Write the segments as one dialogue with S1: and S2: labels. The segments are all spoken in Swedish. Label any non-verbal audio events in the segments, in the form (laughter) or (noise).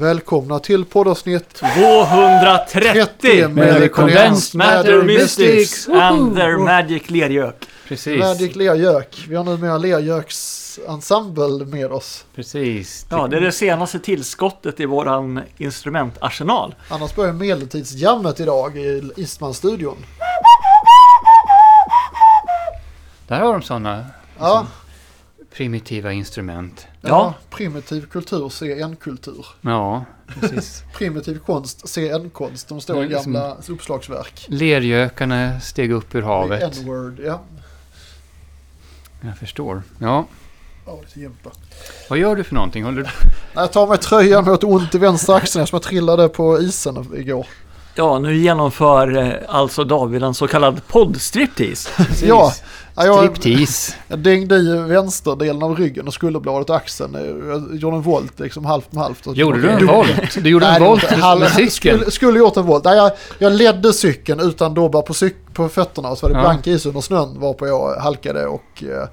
S1: Välkomna till poddavsnitt
S2: 230
S1: med
S2: med The
S1: Condensed
S2: Condensed Matter
S1: Matter
S2: Mystics
S1: Mystics.
S2: and their
S1: Woho!
S2: Magic Lergök.
S3: Precis.
S1: Magic Lergök. Vi har numera Lergöks ensemble med oss.
S3: Precis.
S2: Ja, det är det senaste tillskottet i våran instrumentarsenal.
S1: Annars börjar medeltidsjammet idag i Eastman-studion.
S3: Där har de sådana
S1: Ja,
S3: primitiva instrument.
S1: ja, primitiv kultur, se en kultur.
S3: Ja, precis.
S1: Primitiv konst, se en konst. De står i
S3: Det är liksom-
S1: gamla uppslagsverk.
S3: Lergökarna steg upp ur havet.
S1: N-word, ja.
S3: Jag förstår. Ja.
S1: Ja, lite gympa.
S3: Vad gör du för någonting? Håller du...
S1: Jag tar mig tröjan och åt ont i vänster axeln eftersom jag trillade på isen igår.
S2: Ja, nu genomför eh, alltså David en så kallad poddstriptease.
S1: Ja, ja, jag, (laughs)
S3: Striptease.
S1: Jag dängde i vänsterdelen av ryggen och skulderbladet och axeln. Jag gjorde en volt liksom halvt med halvt.
S3: Gjorde du en volt? Du gjorde en
S1: Nej,
S3: volt
S1: inte halv- (laughs)
S3: med cykeln?
S1: Skulle, skulle gjort en volt. Nej, jag, jag ledde cykeln utan dobbar på, cyk- på fötterna och så var det
S3: Ja.
S1: blank is under snön varpå jag halkade och eh,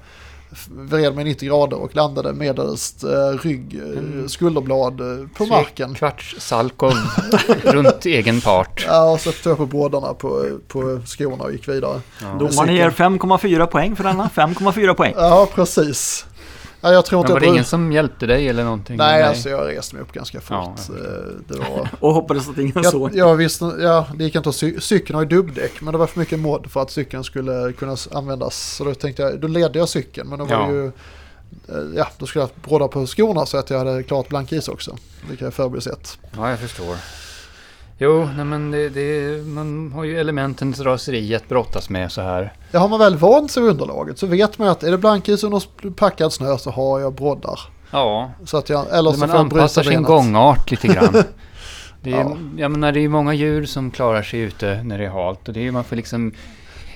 S1: f- vred mig 90 grader och landade medelst eh, rygg, eh,
S3: Mm.
S1: skulderblad eh, på
S3: Tre
S1: marken.
S3: Kvarts Salkov runt egen part.
S1: Ja, och så tog jag på bådarna på, på skorna och gick vidare.
S2: Domaren ger 5,4 poäng för denna. 5,4 poäng.
S1: Ja, precis. Ja, jag tror
S3: Men
S1: inte
S3: var det
S1: jag
S3: ingen som hjälpte dig eller någonting?
S1: Nej, alltså jag reste mig upp ganska fort.
S3: Ja, jag
S1: Eh, det
S3: (laughs)
S1: var...
S2: Och hoppades att ingen
S1: Jag,
S2: såg.
S1: jag visste, ja, det gick inte att cy- cykeln har ju dubbdäck, men det var för mycket mod för att cykeln skulle kunna s- användas. Så då tänkte jag, då ledde jag cykeln, men då var
S3: Ja.
S1: det ju... eh, Ja, då skulle jag haft bråda på skorna så att jag hade klart blank is också. Vilket jag förbisett.
S3: Ja, jag förstår. Jo, nej, men det, det, man har ju elementens raseri att brottas med så här.
S1: Ja, har man väl vant sig vid underlaget så vet man att är det blank is under sp- packad snö så har jag broddar.
S3: Ja,
S1: Så att jag, eller så
S3: man
S1: får jag bryta
S3: anpassar sin
S1: benet.
S3: gångart lite
S1: (laughs)
S3: grann. Det är,
S1: Ja.
S3: ja. Jag menar, det är ju många djur som klarar sig ute när det är halt och det är, ju- man får liksom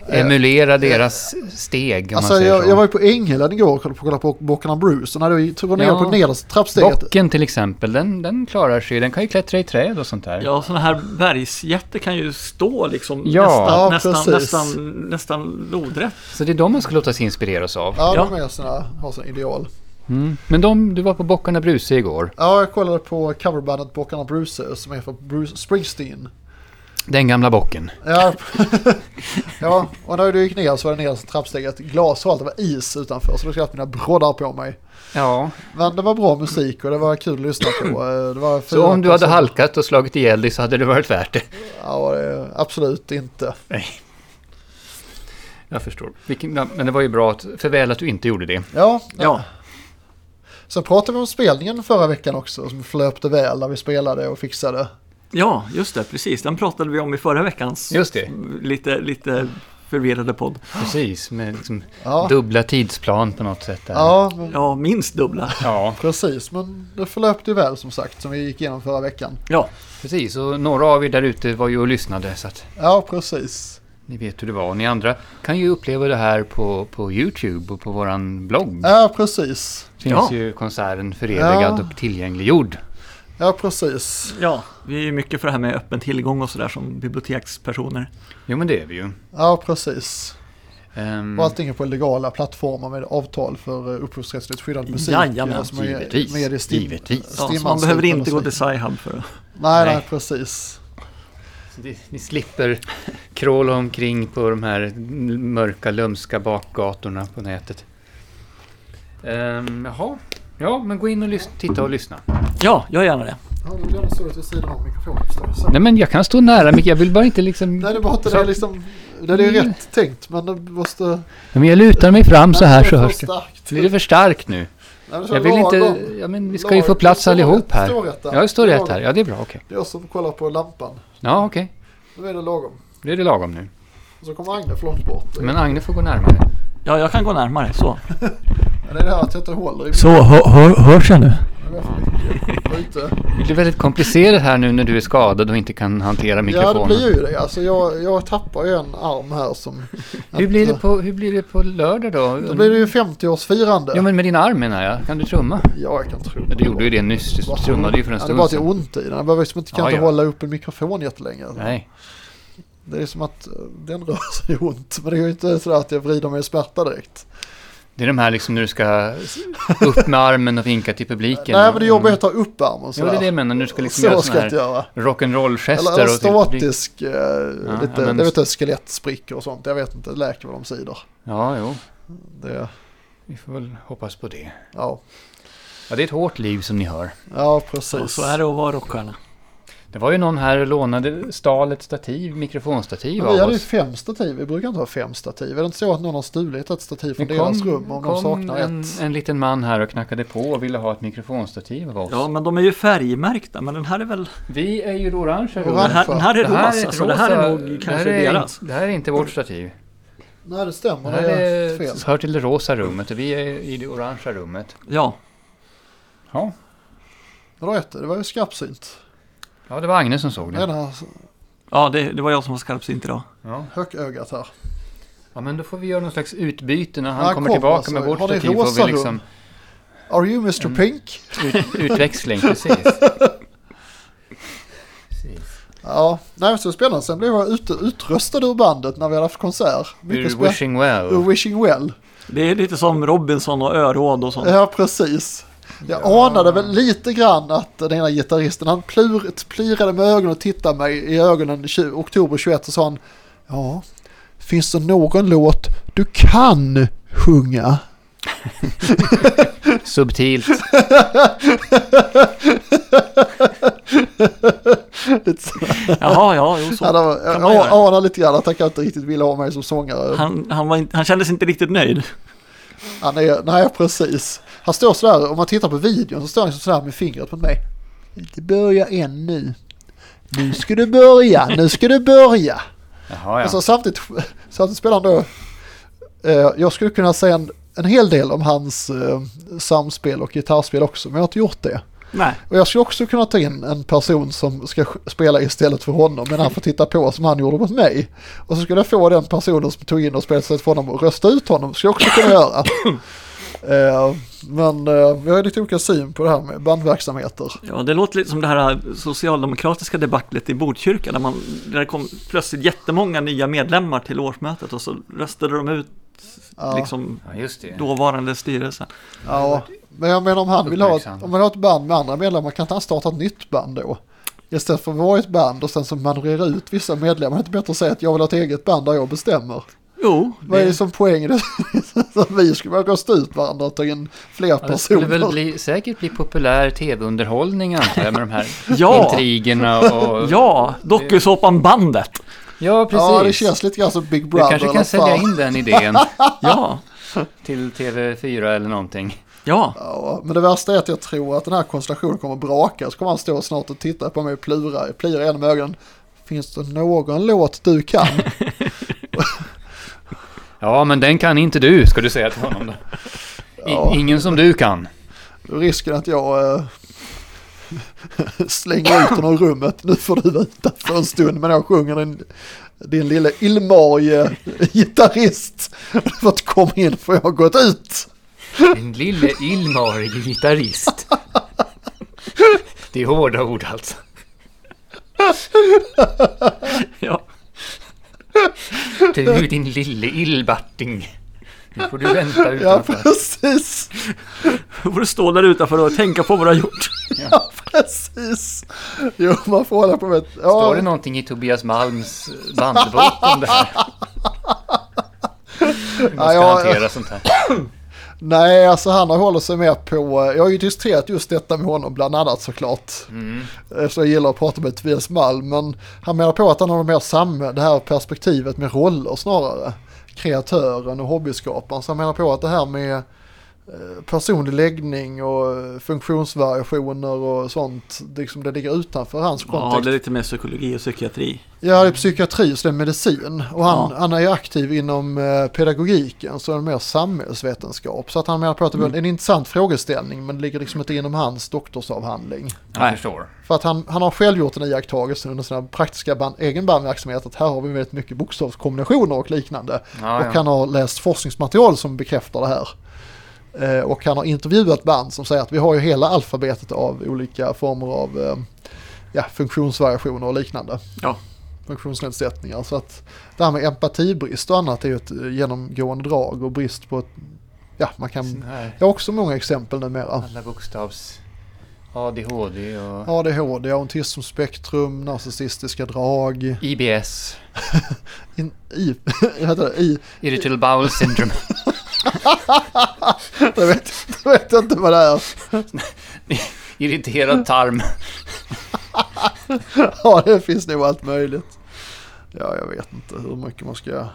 S3: emulera deras steg om
S1: Eh, Alltså
S3: man säger
S1: jag,
S3: så.
S1: jag var ju på Ängelen igår och kollade på, kollade på Bockarna Bruce. Och när jag tog ner
S3: Ja.
S1: på nedersta trappsteget.
S3: Bocken till exempel, den, den klarar sig Den kan ju klättra i träd och sånt där.
S2: Ja, sådana här bergsjätter kan ju stå liksom
S3: Ja.
S1: Ja,
S2: nästan, nästan,
S1: precis.
S2: nästan, nästan lodrätt.
S3: Så det är de man ska låta sig inspireras av.
S1: Ja,
S2: Ja.
S1: de är sina, har sina ideal.
S3: Mm. Men de, du var på Bockarna Bruse igår.
S1: Ja, jag kollade på coverbandet Bockarna Bruse som är för Bruce Springsteen.
S3: Den gamla bocken.
S1: Ja, (laughs) ja och när du gick ner så var det ner som trappsteget glashalt. Det var is utanför så då skrev jag mina broddar på mig.
S3: Ja.
S1: Men det var bra musik och det var kul att lyssna på. Eh, Det var
S3: Så om du hade
S1: halkat?
S3: halkat och slagit ihjäl dig så hade det varit värt det.
S1: Ja, det är absolut inte.
S3: Nej. Jag förstår. Vilken, ja, men det var ju bra, att, för väl att du inte gjorde det.
S1: Ja,
S2: Ja,
S1: sen pratade vi om spelningen förra veckan också som flöpte väl när vi spelade och fixade.
S2: ja, just det, precis. Den pratade vi om i förra veckans
S3: Just det.
S2: lite, lite förvirrade podd.
S3: Precis, med liksom
S1: Ja,
S3: dubbla tidsplan på något sätt. Där.
S1: ja men,
S2: Ja, minst dubbla.
S3: Ja,
S1: precis. Men det flöpte ju väl som sagt som vi gick igenom förra veckan.
S2: Ja,
S3: precis. Och några av er där ute var ju och lyssnade så att
S1: Ja, precis.
S3: ni vet hur det var. Och ni andra kan ju uppleva det här på, på YouTube och på våran blogg.
S1: Ja, precis.
S3: Finns
S2: Ja.
S3: ju konserten förevigad
S1: Ja.
S3: och tillgängliggjord.
S1: Ja, precis.
S2: ja, vi är ju mycket för det här med öppen tillgång och sådär som bibliotekspersoner.
S3: Jo, men det är vi ju.
S1: Ja, precis.
S3: Ehm,
S1: Och allting är på legala plattformar med avtal för eh, upphovsrättsligt skyddad musik.
S2: Jajamän,
S1: eh, som är
S3: givetvis,
S1: Med i stim,
S3: givetvis.
S2: Ja, så man
S1: Stimans
S2: behöver
S1: utan
S2: inte
S1: att
S2: gå
S1: säga.
S2: till Sci-Hub för att...
S1: Nej, nej,
S3: Nej.
S1: precis.
S3: så det- ni slipper kråla omkring på de här mörka, lömska bakgatorna på nätet. Um, jaha. Ja, men gå in och lys- titta och lyssna.
S2: Ja, gör gärna det.
S1: Ja, du gärna stå vid sidan av mikrofonen.
S3: Nej, men jag kan stå nära mycket. Jag vill bara inte liksom...
S1: Nej, det var inte
S3: Så- Mm.
S1: det liksom. Det är ju rätt tänkt, men det måste...
S3: Ja, Men jag lutar mig fram så här så hörs det. Blir det
S1: det.
S3: för starkt nu?
S1: Alltså,
S3: Jag vill inte... Ja, men vi ska ju få plats allihop här.
S1: Står rätt där.
S3: Ja, det står rätt
S1: Lagom.
S3: här. Ja, det är bra. Okej.
S1: Det är jag som kollar på lampan.
S3: Ja, okej.
S1: Nu är det lagom.
S3: Då är det lagom nu.
S1: Och så kommer Agne för långt bort.
S3: Men Agne får gå närmare.
S2: Ja, jag kan gå närmare. Så.
S1: Men det är det här att jag inte håller i
S2: Så, hör, hörs jag nu?
S1: Det är för mycket. Jag är ute.
S3: Det blir väldigt komplicerat här nu när du är skadad och inte kan hantera
S1: Ja,
S3: mikrofonen.
S1: det blir ju det. Alltså, jag, jag tappar ju en arm här som...
S3: hur, blir det på, hur blir det på lördag då?
S1: Alltså. Då blir det ju 50-årsfirande.
S3: Ja, men med din arm menar jag. Kan du trumma?
S1: Ja, jag kan tro
S3: Ja, du gjorde ju det nyss. Du trummade ju för en
S1: Det är bara
S3: stund
S1: att jag har
S3: sedan.
S1: ont i den. Jag behöver liksom inte, kan
S3: Ja,
S1: inte
S3: ja.
S1: hålla upp en mikrofon jättelänge.
S3: Nej.
S1: Det är som att eh, den rör sig ont. Men det är ju inte sådär att jag vrider mig i smärta direkt.
S3: Det är de här liksom när du ska upp med armen och vinka till publiken.
S1: Nej men det jobbar ju
S3: Mm.
S1: att ta upp armen
S3: Jo, det är det
S1: sådär.
S3: jag menar. Nu ska liksom
S1: Så
S3: göra
S1: ska jag inte
S3: sådana
S1: göra.
S3: här
S1: Eller,
S3: rock'n'roll-gester.
S1: eller
S3: och typ- till publik.
S1: statisk, eh, lite,
S3: ja, men-
S1: jag vet inte, skelettsprickor och sånt. Jag vet inte, läker vad de säger.
S3: Ja, jo.
S1: Det,
S3: Vi får väl hoppas på det.
S1: ja.
S3: Ja, det är ett hårt liv som ni hör.
S1: ja, precis.
S2: Och så är det att vara rockstjärna.
S3: Det var ju någon här och lånade stal ett stativ, mikrofonstativ
S1: Men
S3: av
S1: vi hade ju
S3: oss.
S1: fem stativ, vi brukar inte ha fem stativ. Är det inte så att någon har stulit ett stativ från
S3: Det
S1: deras rum om de
S3: kom
S1: saknar
S3: en,
S1: ett?
S3: en liten man här och knackade på och ville ha ett mikrofonstativ av oss.
S2: Ja, men de är ju färgmärkta, men den här är väl...
S3: Vi är ju då orange. här,
S1: Orange.
S2: Den
S3: Roland.
S2: här, den här är
S3: Det här
S2: rosa,
S3: ett
S2: så det här är
S3: rosa-
S2: nog kanske
S3: det här är
S2: deras.
S3: in- Det här är inte vårt stativ.
S1: Nej, det
S3: Det
S1: stämmer.
S3: här
S1: Det är fel.
S3: är, hör till det rosa rummet och vi är i det orangea rummet.
S2: Ja,
S3: Ja,
S1: Men du har rätt, det var ju skarpsynt.
S3: ja det var Agnes som såg
S1: Det är
S3: det.
S1: det här
S2: ja det, det var jag som var skarpsint idag.
S3: Ja.
S1: hökögat här.
S3: ja, men då får vi göra någon slags utbyte när han
S1: Han
S3: kommer
S1: kom,
S3: tillbaka
S1: alltså.
S3: med vårt
S1: Har ni
S3: stativ. Får
S1: rosa
S3: vi liksom
S1: Are you Mr
S3: Mm.
S1: Pink?
S3: ut, utväxling, precis. precis.
S1: Ja, nej så spännande. Sen blev jag ute, utröstad ur bandet när vi hade haft konsert. Mycket
S3: You're
S1: spännande.
S3: wishing well.
S1: Ur Wishing Well.
S2: Det är lite som Robinson och Öråd och sånt.
S1: Ja, precis. Jag
S3: Ja.
S1: anade väl lite grann att den ena gitarristen, han plur, plirade med ögonen och tittade mig i ögonen i tju- oktober 21 och sa han Ja, finns det någon låt du kan sjunga?
S3: Subtilt.
S1: Lite så.
S2: Jaha, (laughs) ja, jo,
S1: Ja,
S2: så.
S1: det var-
S2: kan
S1: Jag
S2: man göra.
S1: anade lite grann att han kanske inte riktigt ville ha mig som sångare.
S2: Han, han, var inte, han kändes inte riktigt nöjd.
S1: Han är, nej precis. Han står sådär, om man tittar på videon så står han sådär med fingret på mig. Inte börja än nu. Nu ska du börja, nu ska du börja.
S3: Jaha,
S1: Och så
S3: ja.
S1: samtidigt, samtidigt spelar han då, eh, jag skulle kunna säga en, en hel del om hans eh, samspel och gitarrspel också, men jag har inte gjort det.
S2: Nej,
S1: Och jag skulle också kunna ta in en person som ska sk- spela istället för honom, men han får titta på som han gjorde mot mig. Och så skulle jag få den personen som tog in och spelade istället för honom och rösta ut honom, skulle jag också kunna göra.
S3: (coughs)
S1: Eh, men eh, vi har lite olika syn på det här med bandverksamheter.
S2: ja, det låter lite som det här äh, socialdemokratiska debaclet i Botkyrka där, man, där det kom plötsligt jättemånga nya medlemmar till årsmötet och så röstade de ut
S1: Ja.
S2: liksom,
S3: ja, just det.
S2: dåvarande styrelsen.
S1: Ja, men jag menar om han vill ha ett, om
S3: Uppmärksam.
S1: man har ett band med andra medlemmar kan inte han starta ett nytt band då? Istället för att vara ett band och sen så manövrera ut vissa medlemmar. Det är inte bättre att säga att jag vill ha ett eget band där jag bestämmer.
S2: Jo,
S1: Vad är det
S2: det,
S1: som poäng? i (laughs) det? Att vi skulle bara rösta ut varandra och ta in fler
S3: Ja, det skulle väl
S1: personer.
S3: bli, säkert bli populär tv-underhållning antar jag med de här
S2: Ja.
S3: intrigerna och...
S2: ja, dokusåpan Bandet.
S3: ja precis.
S1: ja, det känns lite grann som Big
S3: du
S1: Brother.
S3: kanske
S1: eller
S3: kan sälja
S1: fan.
S3: in den idén
S2: Ja,
S3: till TV4 eller någonting.
S2: ja,
S1: Ja, men det värsta är att jag tror att den här konstellationen kommer att braka. Så kommer han stå snart och titta på mig och plura, plira genom ögonen. Finns det någon låt du kan?
S3: Ja, men den kan inte du, ska du säga till honom då. I,
S1: Ja.
S3: Ingen som du kan.
S1: Då är risken att jag eh, (laughs) slänger ut honom ur rummet. Nu får du vara utanför en stund men jag sjunger din, din lille illmarige gitarrist. För att komma in för jag har gått ut.
S3: En lille illmarig gitarrist. Det är hårda ord alltså.
S2: ja.
S3: Du din lille illbatting. Nu får du
S1: Ja
S3: vänta utanför.
S1: precis.
S2: Då får du stå där utanför och tänka på vad du har gjort.
S1: Ja precis. Jo man får hålla på med...
S3: Står det
S1: Ja,
S3: någonting i Tobias Malms bandbok om det här? Hur man ska
S1: Ja, jag-
S3: hantera sånt här.
S1: nej alltså han har hållit sig med på... eh, Jag har ju diskuterat just detta med honom bland annat såklart.
S3: Mm.
S1: Eftersom jag gillar att prata med Tobias Malm. Men han menar på att han har mer sam det här perspektivet med roller snarare. Kreatören och hobbyskaparen. Så han menar på att det här med eh, personlig läggning och eh, funktionsvariationer och sånt. Det, liksom, det ligger utanför hans
S2: Ja,
S1: kontext.
S2: det är lite mer psykologi och psykiatri.
S1: Ja, det är psykiatri så det är medicin. Och han,
S2: Ja.
S1: han är ju aktiv inom eh, pedagogiken så det är mer samhällsvetenskap. Så att han menar på att det är en intressant frågeställning men det ligger liksom inte inom hans doktorsavhandling.
S3: Jag
S2: Nej.
S3: förstår.
S1: För att han, han har själv gjort en iakttagelse under sina praktiska band, egen bandverksamhet att här har vi väldigt mycket bokstavskombinationer och liknande.
S3: Ja,
S1: Och
S3: ja.
S1: han har läst forskningsmaterial som bekräftar det här. Eh, och han har intervjuat band som säger att vi har ju hela alfabetet av olika former av eh, ja, funktionsvariationer och liknande.
S2: Ja.
S1: Funktionsnedsättningar. Så att det här med empatibrist och annat är ju ett eh, genomgående drag och brist på ett ja, man kan...
S3: Sån här,
S1: Jag har också många exempel numera.
S3: alla bokstavs... ADHD och
S1: ADHD, autismspektrum, narcissistiska drag,
S3: IBS.
S1: in, i, (laughs) vad heter det? I,
S3: Irritable Bowel Syndrome. (laughs)
S1: jag vet, jag vet inte vad det är.
S3: Irriterad tarm.
S1: (laughs) Ja, det finns nog allt möjligt. Ja, jag vet inte hur mycket man ska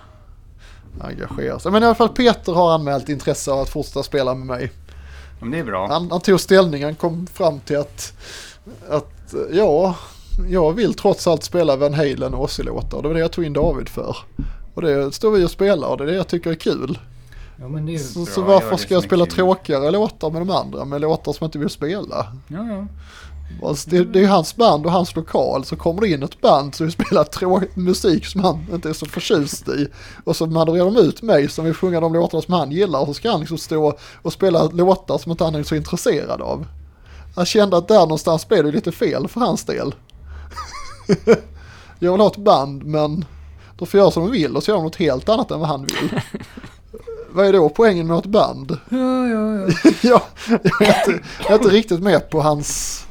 S1: engagera sig. Men i alla fall Peter har anmält intresse av att fortsätta spela med mig.
S3: Men det är bra.
S1: Han, han tog ställning, han kom fram till att, att eh, ja, jag vill trots allt spela Van Halen och Ozzy-låtar. Det var det jag tog in David för. Och det står vi och spelar och det är det jag tycker är kul.
S3: Ja, men det är
S1: Så,
S3: bra.
S1: så
S3: Gör
S1: varför
S3: det
S1: ska
S3: som
S1: jag
S3: är
S1: spela
S3: kul.
S1: tråkigare låtar med de andra? Med låtar som jag inte vill spela.
S3: Ja, ja.
S1: Alltså, det, det är ju hans band och hans lokal. Så kommer det in ett band som vill spela (laughs) trå- musik som han inte är så förtjust i. Och så manövrerar de ut mig som vill sjunga de låtarna som han gillar. Och så ska han liksom stå och spela låtar som inte han är så intresserad av. Han kände att där någonstans blev det lite fel för hans del. (laughs) jag vill ha ett band men de får göra som de vill och så gör de något helt annat än vad han
S3: (laughs)
S1: vill. vad är då poängen med att ha ett band?
S3: Ja, ja, ja.
S1: (laughs) jag, jag, är inte, jag är inte riktigt med på hans...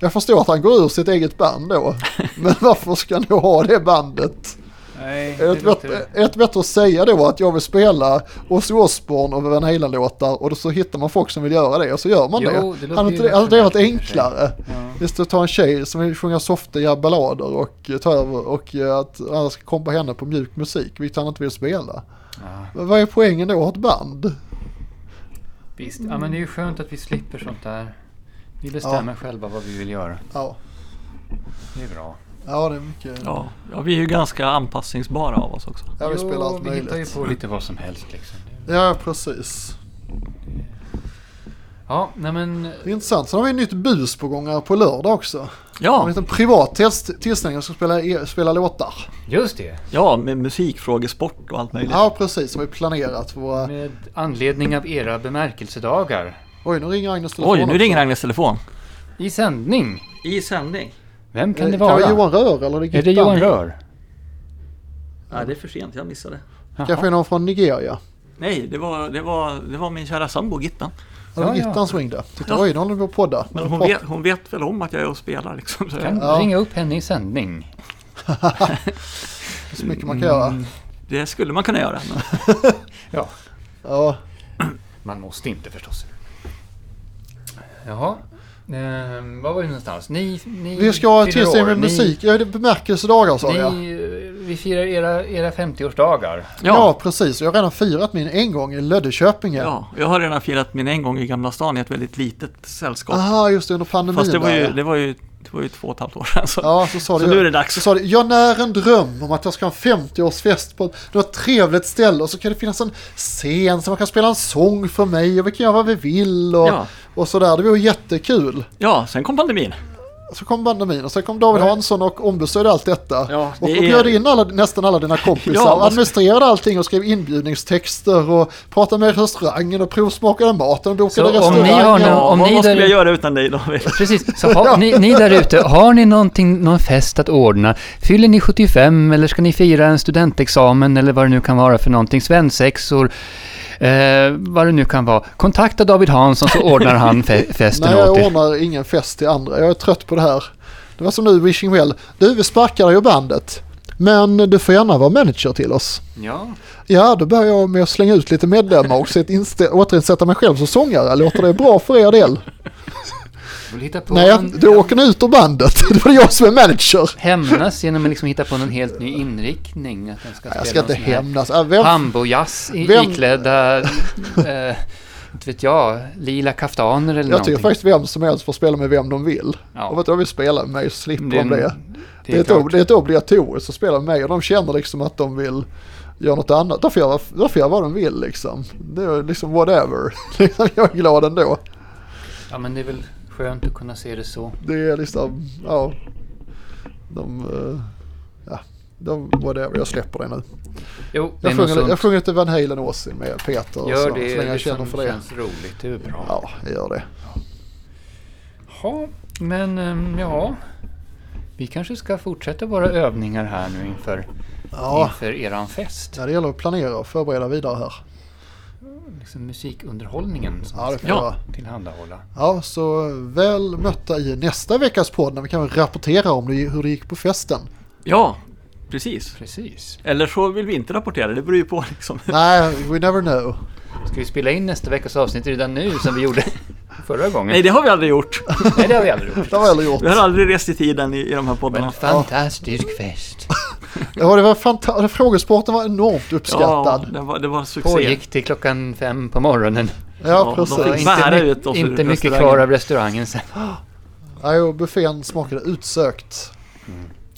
S1: Jag förstår att han går ur sitt eget band
S3: (laughs)
S1: då. Men varför ska han då ha det bandet?
S3: Nej,
S1: Är det
S3: det
S1: bättre,
S3: låter...
S1: är det bättre att säga då att jag vill spela Ozzy Osbourne och Van Halen-låtar och då så hittar man folk som vill göra det och så gör man
S3: Jo,
S1: det.
S3: det låter
S1: hade
S3: ju
S1: inte det, hade det varit
S3: rationellt i och för sig.
S1: enklare?
S3: Ja.
S1: Istället för att ta en tjej som vill sjunga softiga ballader och eh, ta över och eh, att alla ska kompa henne på mjuk musik, vilket han inte vill spela.
S3: Ja,
S1: Men Vad är poängen då att ha ett band?
S3: visst. Ja, men det är ju skönt att vi slipper sånt där. Vi bestämmer själva vad vi vill göra.
S1: Ja,
S3: Det är bra.
S1: ja det är mycket.
S2: Ja, ja, vi är ju ganska anpassningsbara av oss också.
S1: Jag vill
S3: Jo,
S1: spela allt
S3: vi hittar ju
S1: möjligt.
S3: på lite vad som helst liksom.
S1: Ja, precis.
S3: Ja, nej men...
S1: Det är intressant. Sen har vi ett nytt bus på gång här på lördag också. En
S2: Ja,
S1: liten privat test- tillställning. Jag ska spela, spela låtar.
S3: Just det!
S2: ja med musikfrågor, sport och allt möjligt.
S1: Ja, precis. Som vi planerat. För våra...
S3: Med anledning av era bemärkelsedagar.
S1: Oj, nu ringer Agnes telefon.
S2: Oj, nu
S1: också.
S2: ringer Agnes telefon.
S3: I sändning.
S2: I sändning?
S3: Vem kan det
S1: Eh, Kan det
S3: vara?
S1: vara Johan Rör eller är det
S3: är
S1: Gittan?
S3: det Johan Rör?
S2: Nej, det är för sent. Jag missade.
S1: Kanske någon från Nigeria.
S2: Nej, det var, det var, det var min kära sambo Gittan.
S1: Det var
S3: Ja, ja.
S1: Gittan som ringde. Titta, oj, nu håller vi på att podda.
S2: Men hon vet, hon vet väl om att jag är och spelar liksom. Så
S3: Kan
S2: jag,
S1: Ja.
S3: ringa upp henne i sändning.
S1: Så mycket man kan
S2: Mm.
S1: göra.
S2: det skulle man kunna göra. Men
S3: Ja,
S1: Ja,
S3: man måste inte förstås. Jaha. Ehm, var var vi någonstans? Ni, ni
S1: vi ska ha en
S3: fyller
S1: tillställning
S3: år.
S1: med musik. Ja, det är bemärkelsedagar sa
S3: Ni,
S1: jag.
S3: ni, eh, vi firar era, era 50-årsdagar.
S1: Ja,
S2: ja,
S1: precis. Jag har redan firat min en gång i Löddeköpinge.
S2: ja, jag har redan firat min en gång i Gamla stan i ett väldigt litet sällskap.
S1: Aha, just Ah, det, under pandemin.
S2: Fast det var,
S1: där,
S2: ju,
S1: ja.
S2: det, var ju, det var ju två och ett halvt år sedan. Så,
S1: Ja, så sa
S2: så
S1: det ju-
S2: nu är det dags.
S1: Så sa det, jag när en dröm om att jag ska ha en 50-årsfest på något trevligt ställe och så kan det finnas en scen så man kan spela en sång för mig och vi kan göra vad vi vill och,
S2: Ja.
S1: och sådär. Det var ju jättekul.
S2: Ja, sen kom pandemin.
S1: Så kom pandemin och sen kom David Hansson och ombesörjde allt detta.
S2: Ja,
S1: och,
S2: det
S1: och
S2: är-
S1: bjöd in alla, nästan alla dina kompisar
S2: Ja, alltså-
S1: och
S2: vad ska-
S1: administrerade allting och skrev inbjudningstexter och pratade med restaurangen och provsmakade maten och
S3: Så
S1: bokade
S3: om ni
S1: restauranger.
S3: har någon-
S2: Ja,
S3: om
S2: vad,
S3: ni
S2: vad skulle
S3: där-
S2: jag göra utan dig David?
S3: Precis, så har, ni, ni där ute, har ni någonting, någon fest att ordna? Fyller ni 75 eller ska ni fira en studentexamen eller vad det nu kan vara för någonting? Svensexor, eh, vad det nu kan vara. Kontakta David Hansson så ordnar han fe- festen
S1: Nej,
S3: åt
S1: jag
S3: er.
S1: ordnar ingen fest till andra. Jag är trött på det här. Det var som nu Wishing Well. Du, vi sparkar ju bandet. Men du får gärna vara manager till oss.
S3: Ja,
S1: Ja, då börjar jag med att slänga ut lite medlemmar och set- instä- återinsätta mig själv som sångare. Låter det bra för er del?
S3: vill hitta på
S1: Nej,
S3: någon-
S1: då åker ni ut ur bandet. (laughs) Det var jag som är manager.
S3: Hämnas genom att liksom hitta på någon helt ny inriktning. Att den ska
S1: Jag ska
S3: spela
S1: inte
S3: någon sån här
S1: hämnas. Äh, Vem,
S3: Pambojazz i-
S1: Vem-
S3: iklädda, eh, inte vet jag, lila kaftaner eller
S1: jag tycker
S3: någonting.
S1: faktiskt vem som helst får spela med vem de vill.
S3: Ja.
S1: Och vet du, de vill spela med mig så slipper
S3: Det är en-
S1: de det.
S3: det
S1: Det är, ett,
S3: klart.
S1: ob- det är ett obligatoriskt att spela med mig och de känner liksom att de vill göra något annat. Då får jag, vara- då får jag vad de vill liksom. Det är liksom whatever. (laughs) Liksom, jag är glad ändå.
S3: Ja, men det är väl skönt att kunna se det så.
S1: Det är liksom, ja. De, eh, ja. De, whatever, jag släpper det nu.
S3: Jo, det
S1: Jag
S3: är nog
S1: sjunger,
S3: sunt.
S1: jag sjunger lite Van Halen och Ozzy med Peter och
S3: Gör
S1: så,
S3: det,
S1: så länge jag känner
S3: som
S1: för det.
S3: känns roligt. Det är bra.
S1: Ja, jag gör det.
S3: Ja, men ehm, ja. Vi kanske ska fortsätta våra övningar här nu inför,
S1: Ja,
S3: inför eran fest.
S1: ja, det gäller att planera och förbereda vidare här.
S3: liksom musikunderhållningen som
S1: Ja, det
S3: vi
S1: får
S3: ska
S1: det
S2: Ja.
S1: vara.
S3: tillhandahålla.
S1: Ja, så väl mötta i nästa veckas podd när vi kan rapportera om det, hur det gick på festen.
S2: Ja, precis.
S3: Precis.
S2: Eller så vill vi inte rapportera, det beror ju på liksom.
S1: Nej, we never know.
S3: Ska vi spela in nästa veckas avsnitt redan nu som
S1: (laughs)
S3: vi gjorde förra gången?
S2: Nej, det har vi aldrig gjort.
S3: Nej, det har vi aldrig gjort.
S1: Det har jag aldrig gjort.
S2: Vi har aldrig rest i tiden i, i de här poddarna.
S3: En fantastisk fest.
S1: Ja, det var fantastiskt. Frågesporten var enormt
S2: Ja,
S1: uppskattad.
S2: det var, det var succé.
S3: Pågick till klockan fem på morgonen.
S1: Ja,
S2: ja,
S1: precis.
S2: de
S3: Så
S2: fick
S3: inte,
S2: bära
S3: my-
S2: ut oss ur
S3: inte mycket
S2: restaurangen.
S3: kvar av restaurangen sen.
S1: Nej, och buffén smakade utsökt.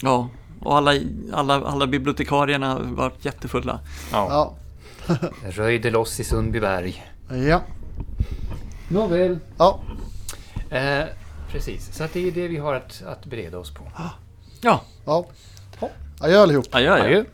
S2: Ja, och alla, alla, alla bibliotekarierna var jättefulla.
S3: Ja.
S1: Ja.
S3: Röjde loss i Sundbyberg.
S1: Ja.
S3: Nåväl.
S1: ja.
S3: Eh, precis, så att det är det vi har att, att bereda oss på.
S2: Ja,
S1: ja. Adjö allihop.
S2: adjö. adjö.
S3: Adjö.